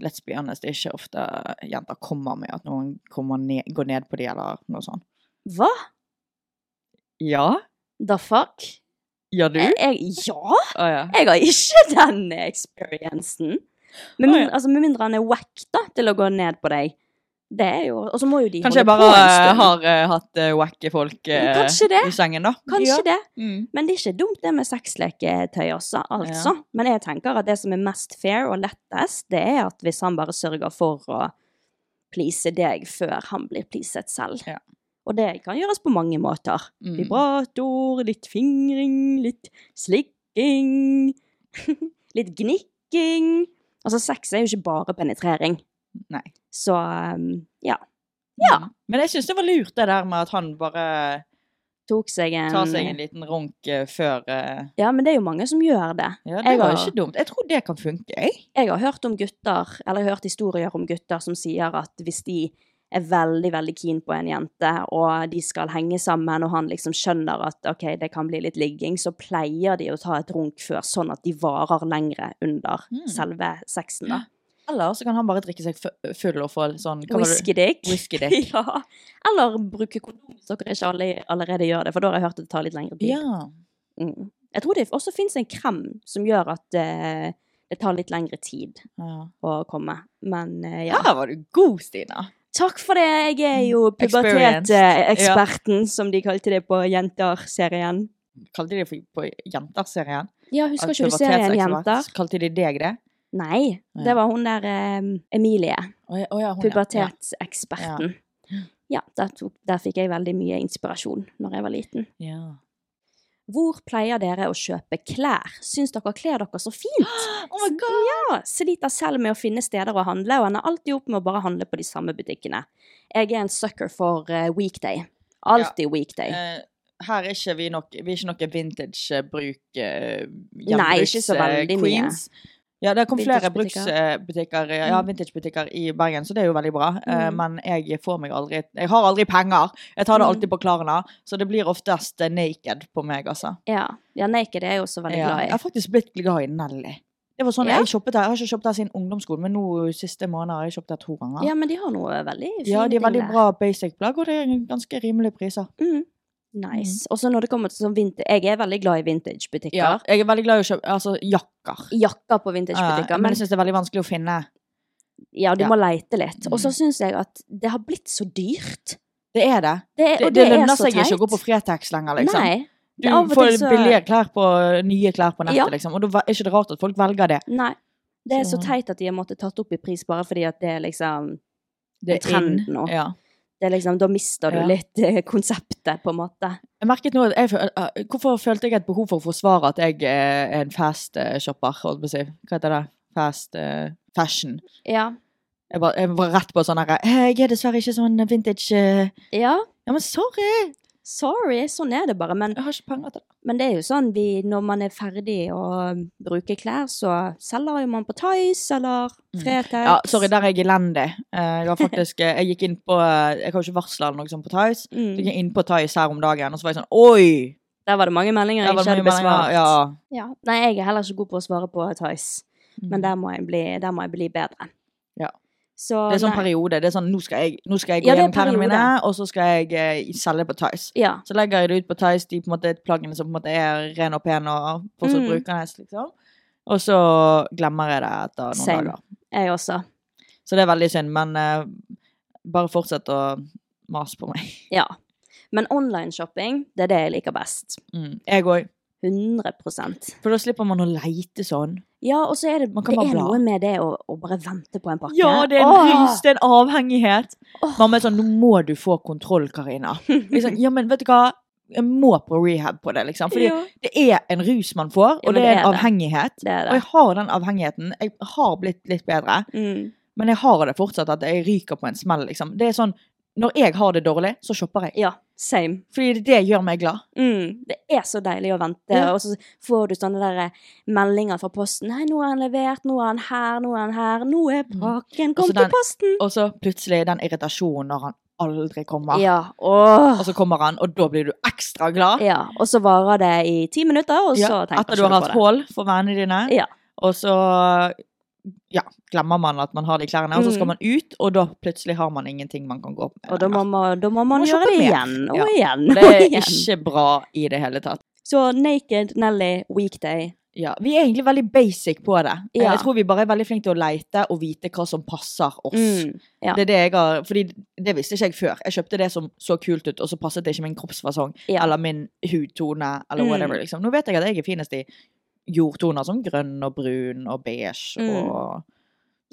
S3: let's be honest, det er ikke ofte jenter kommer med at noen kommer ned, går ned på de eller noe sånt.
S4: Hva?
S3: Ja?
S4: The fuck?
S3: Gjør du?
S4: Jeg, Eh, jeg, ja!
S3: Å Ah, ja.
S4: Jeg har ikke den experiencen. Med
S3: Å,
S4: mindre,
S3: ja.
S4: altså, med mindre han er wack, da, til å gå ned på deg. Det er jo Og så må jo de
S3: Kanskje jeg bare
S4: holde på en
S3: eh,
S4: stund.
S3: har eh, hatt uh, wacky folk eh,
S4: Kanskje det.
S3: i sengen, da.
S4: Kanskje det.
S3: Mm.
S4: Men det er ikke dumt det med sexleketøy også, altså. Men jeg tenker at det som er mest fair og lettest, det er at hvis han bare sørger for å please deg før han blir pleaset selv.
S3: Ja.
S4: Og det kan gjøres på mange måter.
S3: Mm.
S4: Vibrator, litt fingring, litt slikking, litt gnikking. Altså, sex er jo ikke bare penetrering.
S3: Nei.
S4: Så, um, ja.
S3: Ja.
S4: Mm.
S3: Men jeg syns det var lurt, det der med at han bare
S4: Tok seg en...
S3: tar seg en liten ronk eh, før eh,
S4: Ja, men det er jo mange som gjør det.
S3: Ja, det
S4: Jeg
S3: var jo
S4: har-
S3: ikke dumt. Jeg tror det kan funke, jeg.
S4: Jeg har hørt om gutter, eller jeg har hørt historier om gutter som sier at hvis de er veldig, veldig keen på en jente, og de skal henge sammen, og han liksom skjønner at ok, det kan bli litt ligging, så pleier de å ta et runk før, sånn at de varer lengre under
S3: Mm.
S4: selve sexen da.
S3: Eller så kan han bare drikke seg fu- full og få sånn hva var det-
S4: Whisky dick.
S3: Whisky dick.
S4: ja. Eller bruke kondom, så dere ikke alle, allerede gjør det, for da har jeg hørt at det tar litt lengre tid.
S3: Ja.
S4: Mm. Jeg tror det også finnes en krem som gjør at eh, det tar litt lengre tid
S3: ja.
S4: å komme, men eh, ja.
S3: Her var du god, Stina.
S4: Takk for det. Jeg er jo
S3: Experienced.
S4: puberteteksperten, som de kalte det på Jenter-serien.
S3: Kalte de det for- på Jenter-serien?
S4: Ja, husker ikke du
S3: Aktivitetsekspert.
S4: serien Jenter?
S3: Kalte de deg det?
S4: Nei,
S3: Ja.
S4: det var hun der eh, Emilie,
S3: Å ja, å ja, hun, ja.
S4: pubertetseksperten. Ja, der, tok, der fikk jeg veldig mye inspirasjon når jeg var liten.
S3: Ja.
S4: Hvor pleier dere å kjøpe klær? Syns dere kler dere så fint?
S3: Oh my god!
S4: Ja, sliter selv med å finne steder å handle, og ender alltid opp med å bare handle på de samme butikkene. Jeg er en sucker for eh, weekday. Alltid weekday.
S3: Eh, her er ikke vi nok Vi er ikke noe vintage eh, bruk eh,
S4: Nei, ikke
S3: gjenbruks,
S4: så
S3: eh,
S4: veldig mye.
S3: queens. Ja, det kom flere
S4: Vintagebutikker.
S3: bruksbutikker, eh, ja,
S4: Mm.
S3: vintagebutikker i Bergen, så det er jo veldig bra. Eh,
S4: Mm.
S3: Men jeg får meg aldri Jeg har aldri penger. Jeg tar det
S4: Mm.
S3: alltid på Klarna, så det blir oftest eh, naked på meg, altså.
S4: Ja. ja, naked er jeg også veldig
S3: Ja,
S4: glad i.
S3: Jeg har faktisk blitt glad i Nelly. Det var sånn,
S4: Ja.
S3: jeg, shoppet her, jeg har ikke shoppet her siden ungdomsskolen, men nå siste måned har jeg shoppet her to ganger.
S4: Ja, men de har noe veldig fint.
S3: Ja, de er veldig bra basic-plagg, og det er ganske rimelige priser.
S4: Mm.
S3: Mm.
S4: Nice. Og så når det kommer til sånn vintage Jeg er veldig glad i vintagebutikker.
S3: Jeg er veldig glad i å kjøpe altså, jakker.
S4: Jakker på
S3: Ah, Ja,
S4: vintagebutikker,
S3: men
S4: men
S3: jeg syns det er veldig vanskelig å finne.
S4: ja, du
S3: Ja.
S4: må leite litt. Og så
S3: Mm.
S4: syns jeg at det har blitt så dyrt.
S3: Det er det.
S4: Det,
S3: Det,
S4: og
S3: det
S4: det, er
S3: lønner
S4: så
S3: seg
S4: teit.
S3: ikke å gå på Fretex lenger, liksom.
S4: Nei.
S3: Du
S4: det er av og til
S3: får
S4: så-
S3: billige klær på nye klær på nettet,
S4: Ja.
S3: liksom. Og da er ikke det rart at folk velger det.
S4: Nei. Det er
S3: Så-
S4: så teit at de har måttet tatt opp i pris bare fordi at det er liksom
S3: Det
S4: er trend
S3: inn.
S4: nå.
S3: Ja.
S4: det er liksom, Da mister du
S3: Ja.
S4: litt eh, konseptet, på en måte.
S3: Jeg merket nå at jeg, føl- eh, Hvorfor følte jeg et behov for å forsvare at jeg eh, er en fast eh, shopper? Holdt på å si. Hva heter det? Fast eh, fashion.
S4: Ja.
S3: Jeg var, jeg var rett på sånn herre Jeg er dessverre ikke sånn vintage eh,
S4: ja.
S3: Ja, men sorry!
S4: Sorry, sånn er det bare. Men
S3: Jeg har ikke penger til det.
S4: Men det er jo sånn, vi, når man er ferdig å bruke klær, så selger jo man på Tice eller
S3: Mm.
S4: Fretex.
S3: Ja, sorry, der er jeg elendig. Eh, Jeg har faktisk eh, Jeg gikk inn på eh, Jeg har jo ikke varsla eller noe sånt på Tice. Så gikk
S4: Mm.
S3: jeg inn på Tice her om dagen, og så var jeg sånn Oi!
S4: Der var det mange meldinger
S3: Der
S4: jeg
S3: var
S4: ikke
S3: det
S4: hadde
S3: mye meldinger.
S4: besvart.
S3: Ja.
S4: Ja. Nei, jeg er heller ikke god på å svare på Tice, men der må jeg bli, der må jeg bli bedre.
S3: Mm. Ja.
S4: Så,
S3: Det er sånn
S4: nei.
S3: periode. Det er sånn Nå skal jeg, nå skal jeg gå
S4: Ja, det er
S3: gjennom klærne mine,
S4: periode.
S3: og så skal jeg eh, selge på Tice.
S4: Ja.
S3: Så legger jeg det ut på Tice, de på en måte plaggene som på en måte er ren og pen og fortsatt
S4: Mm.
S3: brukende. Liksom. Og så glemmer jeg det etter noen
S4: Same.
S3: dager.
S4: Jeg også.
S3: Så det er veldig synd, men eh, bare fortsett å mase på meg.
S4: Ja. Men online-shopping, det er det jeg liker best.
S3: Mm. Jeg òg.
S4: 100
S3: For da slipper man å leite sånn.
S4: Ja, og så er det,
S3: Man
S4: det
S3: kan bare
S4: er
S3: bla.
S4: noe med det å, å bare vente på en pakke.
S3: Ja, det er en
S4: Åh!
S3: rus, det er en avhengighet.
S4: Åh.
S3: Mamma er sånn 'Nå må du få kontroll, Karina'. Jeg er Sånn, ja, men vet du hva? Jeg må på rehab på det, liksom. Fordi
S4: Ja.
S3: det er en rus man får,
S4: Ja,
S3: og
S4: men
S3: det
S4: det
S3: er en
S4: er det.
S3: avhengighet.
S4: Det er
S3: Og
S4: det.
S3: jeg har den avhengigheten. Jeg har blitt litt bedre.
S4: Mm.
S3: Men jeg har det fortsatt at jeg ryker på en smell, liksom. Det er sånn, når jeg har det dårlig, så shopper jeg.
S4: Ja, Same.
S3: Fordi det gjør meg glad.
S4: Mm, det er så deilig å vente,
S3: Ja.
S4: og så får du sånne der eh, meldinger fra posten. 'Hei, nå er han levert. Nå er han her. Nå er han her. Nå er pakken. Kom
S3: Altså, den-
S4: til posten!'
S3: Og så plutselig den irritasjonen når han aldri kommer.
S4: Ja.
S3: Og
S4: Åh.
S3: så kommer han, og da blir du ekstra glad.
S4: ja. Og så varer det i ti minutter, og så tenker
S3: Etter du har
S4: ikke
S3: hatt
S4: på det.
S3: hull for vennene dine.
S4: Ja.
S3: Og så ja, glemmer man at man har de klærne, og så skal
S4: Mm.
S3: man ut, og da plutselig har man ingenting man kan gå opp med.
S4: Og da må,
S3: lenger.
S4: man- da må man
S3: Må
S4: gjøre
S3: shoppe
S4: det
S3: mer.
S4: igjen og
S3: Ja.
S4: igjen.
S3: Og det
S4: og
S3: er
S4: igjen.
S3: ikke bra i det hele tatt.
S4: Så Naked Nelly Weekday.
S3: Ja, vi er egentlig veldig basic på det.
S4: Ja.
S3: Jeg tror vi bare er veldig flinke til å leite og vite hva som passer oss.
S4: Mm. Ja.
S3: Det er det jeg har, fordi det visste ikke jeg før. Jeg kjøpte det som så kult ut, og så passet det ikke min kroppsfasong
S4: Ja.
S3: eller min hudtone. eller
S4: Mm.
S3: whatever. Liksom. Nå vet jeg at jeg er finest i jordtoner som grønn og brun og beige
S4: Mm.
S3: og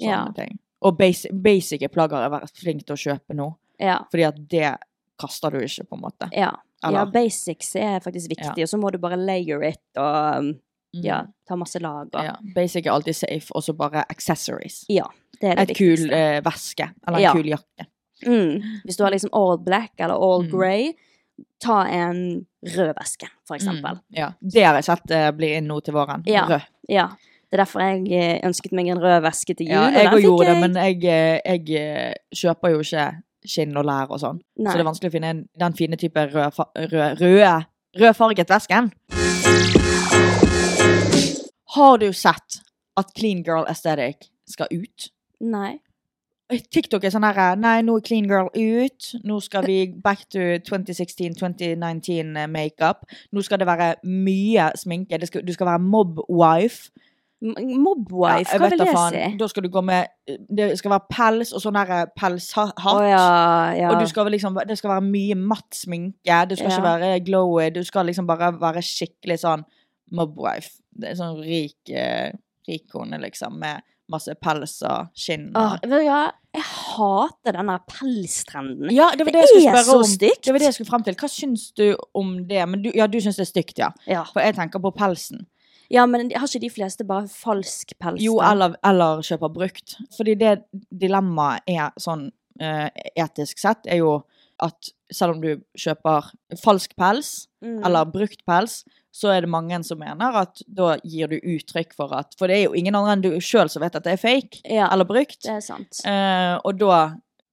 S3: sånne
S4: Ja.
S3: ting. Og bas basice plagger har jeg vært flink til å kjøpe nå,
S4: Ja.
S3: fordi at det kaster du ikke, på en måte.
S4: Ja. ja.
S3: Eller-
S4: Basics er faktisk viktig, og så må du bare layer it og um,
S3: Mm.
S4: ja, ta masse lag. Og.
S3: Ja, Basic er alltid safe, og så bare accessories.
S4: Ja, det er det
S3: Et kul
S4: viktigste.
S3: eh, veske, eller en
S4: Ja.
S3: kul jakke.
S4: Mm. Hvis du har liksom all black eller all
S3: Mm.
S4: grey, ta en rød veske, for eksempel.
S3: Mm. Ja. Det har jeg sett eh, blir inn nå til våren.
S4: Ja.
S3: Rød.
S4: Ja. Det er derfor jeg eh, ønsket meg en rød veske til jul.
S3: Ja,
S4: og
S3: jeg
S4: den
S3: òg
S4: fikk
S3: gjorde det,
S4: jeg.
S3: men jeg, eh, jeg eh, kjøper jo ikke skinn og lær og sånn. Så
S4: Nei.
S3: det er vanskelig å finne en- den fine type rød, fa- rød, røde, rødfarget vesken. Har du sett at Clean Girl Aesthetic skal ut?
S4: Nei.
S3: TikTok er sånn her Nei, nå er Clean Girl ut. Nå skal vi back to 2016-2019 eh, makeup. Nå skal det være mye sminke. Det skal, du skal være mob-wife.
S4: M- Mobwife, hva
S3: jeg vet
S4: vil
S3: da
S4: det si?
S3: faen. Da skal du gå med eh, Det skal være pels og sånn der pelshatt.
S4: Å ja, ja.
S3: Og du skal vel liksom, det skal være mye matt sminke, du skal ikke
S4: Ja.
S3: være glowy, du skal liksom bare være skikkelig sånn mobwife. Det er sånn rik, eh, rik kone, liksom, med masse pels og skinn.
S4: Åh,
S3: Og...
S4: Ah, vet du hva? Jeg hater den der pelstrenden.
S3: Ja, det var det,
S4: det
S3: jeg skulle
S4: er
S3: spørre
S4: så
S3: om.
S4: stygt.
S3: Det var det jeg skulle frem til. Hva syns du om det? Men du, ja, du syns det er stygt, ja.
S4: Ja.
S3: For jeg tenker på pelsen.
S4: ja, men har ikke de fleste bare falsk pels?
S3: Jo,
S4: da?
S3: eller, eller kjøper brukt. Fordi det dilemmaet er sånn eh, etisk sett, er jo at selv om du kjøper falsk pels,
S4: Mm.
S3: eller brukt pels, så er det mange som mener at da gir du uttrykk for at For det er jo ingen andre enn du sjøl som vet at det er fake
S4: ja,
S3: eller brukt.
S4: det er sant.
S3: Eh, og da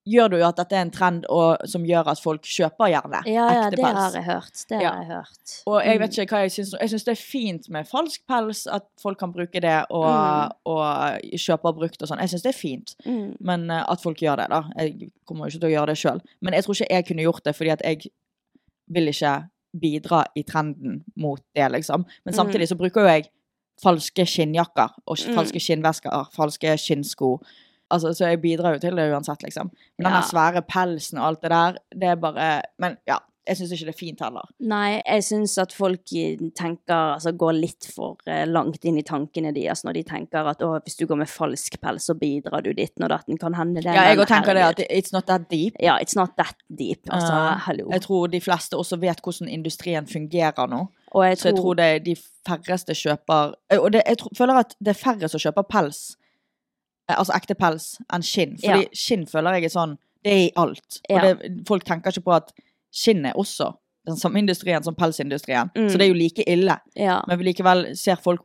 S3: gjør det jo at dette er en trend og, som gjør at folk kjøper gjerne
S4: Ja, ja,
S3: ekte
S4: det har
S3: pels.
S4: jeg hørt.
S3: Ja.
S4: Det har jeg hørt. Mm,
S3: Og jeg vet ikke hva jeg syns Jeg syns det er fint med falsk pels, at folk kan bruke det og,
S4: Mm.
S3: og kjøper brukt og sånn. Jeg syns det er fint.
S4: Mm.
S3: Men eh, at folk gjør det, da. Jeg kommer jo ikke til å gjøre det sjøl. Men jeg tror ikke jeg kunne gjort det, fordi at jeg vil ikke bidra i trenden mot det, liksom. Men samtidig så bruker jo jeg falske skinnjakker og sk-
S4: Mm.
S3: falske skinnvesker, falske skinnsko. Altså, så jeg bidrar jo til det uansett, liksom. Men den
S4: Ja.
S3: der svære pelsen og alt det der, det er bare Men ja, jeg syns ikke det er fint heller.
S4: Nei, jeg syns at folk eh, tenker, altså går litt for eh, langt inn i tankene deres når de tenker at å, hvis du går med falsk pels, så bidrar du dit når datten kan hende det.
S3: Ja, jeg
S4: men
S3: òg tenker det at
S4: herregud.
S3: it's not that deep.
S4: Ja, it's not that deep. Altså,
S3: Eh,
S4: hallo.
S3: Jeg tror de fleste også vet hvordan industrien fungerer nå.
S4: og jeg
S3: Så jeg tror det er de færreste kjøper Og det, jeg tror, føler at det er færre som kjøper pels, eh, altså ekte pels, enn skinn. Fordi
S4: Ja.
S3: skinn føler jeg er sånn Det er i alt. Og
S4: Ja.
S3: det, folk tenker ikke på at skinn er også den samme industrien som pelsindustrien.
S4: Mm.
S3: Så det er jo like ille.
S4: ja.
S3: Men likevel ser folk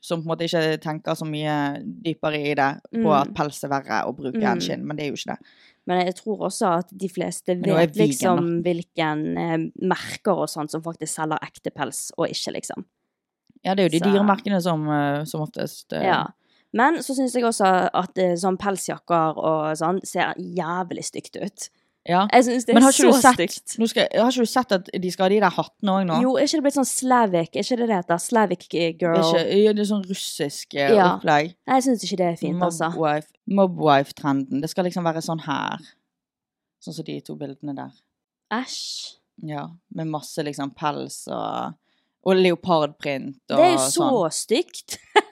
S3: som på en måte ikke tenker så mye dypere i det, på
S4: Mm.
S3: at pels er verre å bruke
S4: Mm.
S3: enn skinn. Men det er jo ikke det.
S4: Men jeg tror også at de fleste
S3: nå er vegan,
S4: vet
S3: da.
S4: liksom hvilken eh, merker og sånt som faktisk selger ekte pels, og ikke, liksom.
S3: Ja, det er jo de
S4: Så-
S3: dyre merkene som, eh, som oftest eh,
S4: Ja. Men så syns jeg også at eh, sånn pelsjakker og sånn ser jævlig stygt ut.
S3: ja.
S4: Jeg syns det
S3: Men
S4: er
S3: har ikke,
S4: så
S3: du sett,
S4: stygt.
S3: nå skal, har ikke du sett at de skal ha de der hattene òg nå?
S4: Jo, er ikke det blitt sånn Slavic? Er ikke det det heter? Slavic eh,
S3: Det
S4: girl?
S3: er, ikke, ja, det er sånn russisk eh,
S4: Ja.
S3: opplegg.
S4: Nei, jeg syns ikke det er fint, altså.
S3: Mobwife. Mobwife-trenden. Det skal liksom være sånn her. Sånn som de to bildene der.
S4: Æsj.
S3: Ja. Med masse liksom pels og Og leopardprint og
S4: Det er jo så
S3: sånn.
S4: stygt.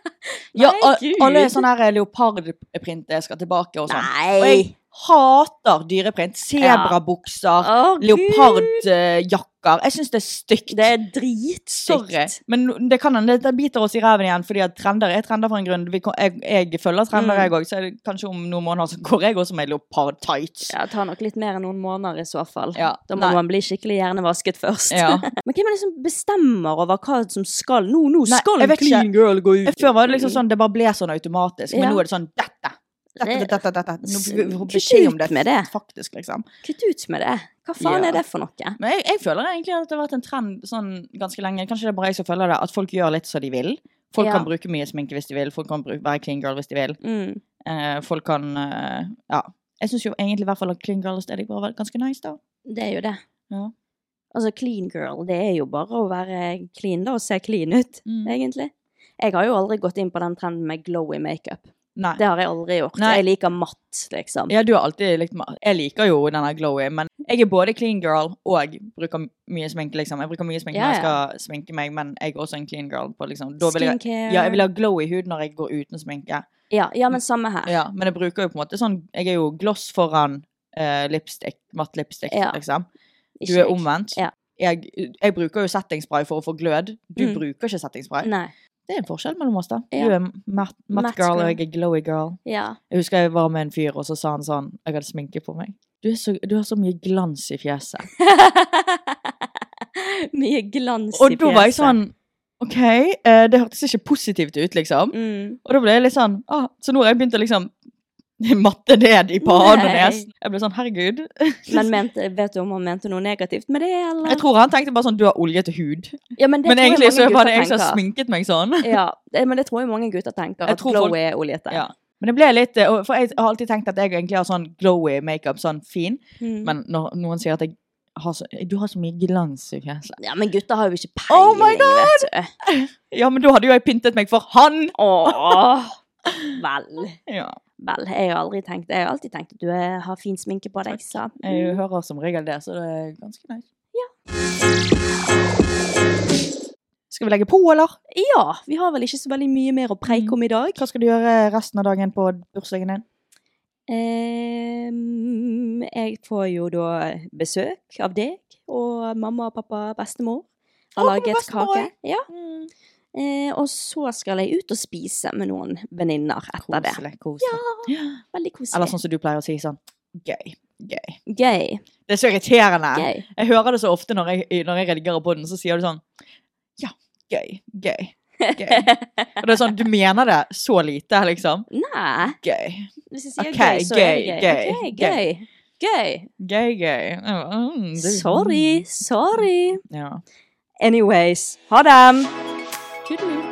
S3: Ja,
S4: Nei,
S3: og-
S4: Gud.
S3: alle sånn, sånne her leopardprinter skal tilbake og sånn. Og
S4: Nei.
S3: jeg hater dyreprint. Sebrabukser,
S4: Å, Gud.
S3: leopardjakker pokker. Jeg syns det er stygt.
S4: Det er dritstygt.
S3: Sorry. Men no- det kan hende det biter oss i ræven igjen, fordi at trender er trender for en grunn. Vi, ko- jeg, jeg følger trender,
S4: Mm.
S3: jeg òg, så er det kanskje om noen måneder så går jeg også med leopard tights.
S4: Ja, det tar nok litt mer enn noen måneder i så fall.
S3: Ja,
S4: Da må
S3: nei.
S4: man bli skikkelig hjernevasket først.
S3: Ja.
S4: Men hvem er det som bestemmer over hva som skal Nå, nå
S3: Nei,
S4: skal
S3: jeg
S4: en
S3: vet
S4: clean
S3: ikke.
S4: girl gå ut!
S3: Før var det liksom sånn, det bare ble sånn automatisk, men
S4: Ja.
S3: nå er det sånn dette. Dette,
S4: Det-
S3: dette, dette, dette. Nå
S4: s-
S3: får vi
S4: kutt
S3: beskjed om
S4: ut
S3: det,
S4: med det.
S3: faktisk, liksom.
S4: Kutt ut med det! Hva faen
S3: Ja.
S4: er det for noe?
S3: Men jeg, jeg føler egentlig at det har vært en trend sånn ganske lenge, kanskje det er bare jeg som føler det, at folk gjør litt som de vil. Folk
S4: Ja.
S3: kan bruke mye sminke hvis de vil, folk kan bruke, være clean girl hvis de vil.
S4: Mm.
S3: Eh, folk kan, eh, ja. Jeg synes jo egentlig i hvert fall at clean girl er ganske nice da.
S4: Det er jo det.
S3: Ja.
S4: Altså, clean girl, det er jo bare å være clean da, og se clean ut,
S3: Mm.
S4: egentlig. Jeg har jo aldri gått inn på den trenden med glowy makeup.
S3: Nei.
S4: Det har jeg aldri gjort.
S3: Nei.
S4: Jeg liker matt, liksom.
S3: Ja, du har alltid likt meg. Jeg liker jo denne glowy, men jeg er både clean girl og bruker mye sminke, liksom. Jeg bruker mye sminke
S4: Ja,
S3: når jeg skal
S4: ja.
S3: sminke meg, men jeg er også en clean girl på liksom da vil jeg,
S4: Skincare.
S3: Ja, jeg vil ha glow i huden når jeg går uten sminke.
S4: ja, ja, men samme her.
S3: Ja, men jeg bruker jo på en måte sånn Jeg er jo gloss foran eh, lipstick, matt lipstick,
S4: Ja.
S3: liksom. Du er
S4: Ikke jeg.
S3: omvendt.
S4: Ja.
S3: Jeg, jeg bruker jo settingspray for å få glød. Du
S4: Mm.
S3: bruker ikke settingspray.
S4: Nei.
S3: Det er en forskjell mellom oss, da.
S4: Ja.
S3: Du er matt, matt
S4: Matt
S3: girl,
S4: girl.
S3: og jeg er glowy girl.
S4: Ja.
S3: Jeg husker jeg var med en fyr, og så sa han sånn Jeg hadde sminke på meg. Du, er så, du har så mye glans i fjeset.
S4: Mye glans i
S3: Og da var jeg
S4: fjeset.
S3: sånn OK, eh, det hørtes ikke positivt ut, liksom.
S4: mm.
S3: Og da ble jeg litt sånn ah, Så nå har jeg begynt å liksom matte ned i panen og
S4: Nei.
S3: nesen. Jeg ble sånn Herregud.
S4: Men mente, vet du om han mente noe negativt med det, eller?
S3: Jeg tror han tenkte bare sånn Du har oljete hud.
S4: ja, men det
S3: Men
S4: tror jeg
S3: egentlig så
S4: mange
S3: var det jeg
S4: gutter
S3: som
S4: tenker.
S3: sminket meg sånn.
S4: Ja, det, men det tror jeg mange gutter tenker.
S3: Jeg
S4: At
S3: tror
S4: glow
S3: folk-
S4: er oljete.
S3: Ja. Men det ble litt eh, og- For jeg har alltid tenkt at jeg egentlig har sånn glowy makeup, sånn fin.
S4: Mm.
S3: Men når noen sier at jeg har så, du har så mye glans i fjeset
S4: ja, men gutter har jo ikke peiling,
S3: Oh my
S4: vet du.
S3: Ja, men da hadde jo jeg pyntet meg for han!
S4: Åh, vel.
S3: Ja.
S4: Vel, jeg har aldri tenkt Jeg har alltid tenkt at du eh, har fin sminke på deg, så
S3: Jeg hører som regel det, så det er ganske nice.
S4: Ja.
S3: Skal vi legge på, eller?
S4: Ja, vi har vel ikke så veldig mye mer å preike
S3: Mm.
S4: om i dag.
S3: Hva skal du gjøre resten av dagen på bursdagen din?
S4: Ehm, jeg får jo da besøk av deg og mamma og pappa bestemor.
S3: Å,
S4: Har
S3: kommer
S4: laget
S3: bestemor
S4: kake. Ja. Eh, og så skal jeg ut og spise med noen venninner etter det.
S3: Koselig, koselig.
S4: Ja, veldig koselig.
S3: Eller sånn som du pleier å si sånn gøy, gøy.
S4: Gøy.
S3: Det er så irriterende.
S4: Gøy.
S3: Jeg hører det så ofte når jeg, når jeg redigerer på den, så sier du sånn ja, gøy, gøy, gøy. Og det er sånn, du mener det så lite, liksom.
S4: Nei.
S3: Gøy,
S4: Hvis jeg sier
S3: Ok,
S4: gøy, så er det gøy.
S3: gøy,
S4: Ok,
S3: gøy,
S4: gøy. Gøy.
S3: gøy, gøy. Mm, det-
S4: Sorry. Sorry.
S3: Ja.
S4: Anyways, ha det!
S3: Toodaloo.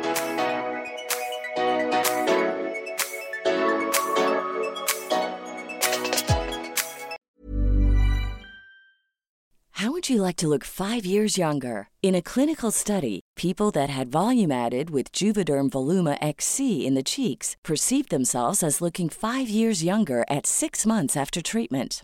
S1: How would you like to look five years younger? In a clinical study, people that had volume added with Juvederm Voluma XC in the cheeks perceived themselves as looking five years younger at six months after treatment.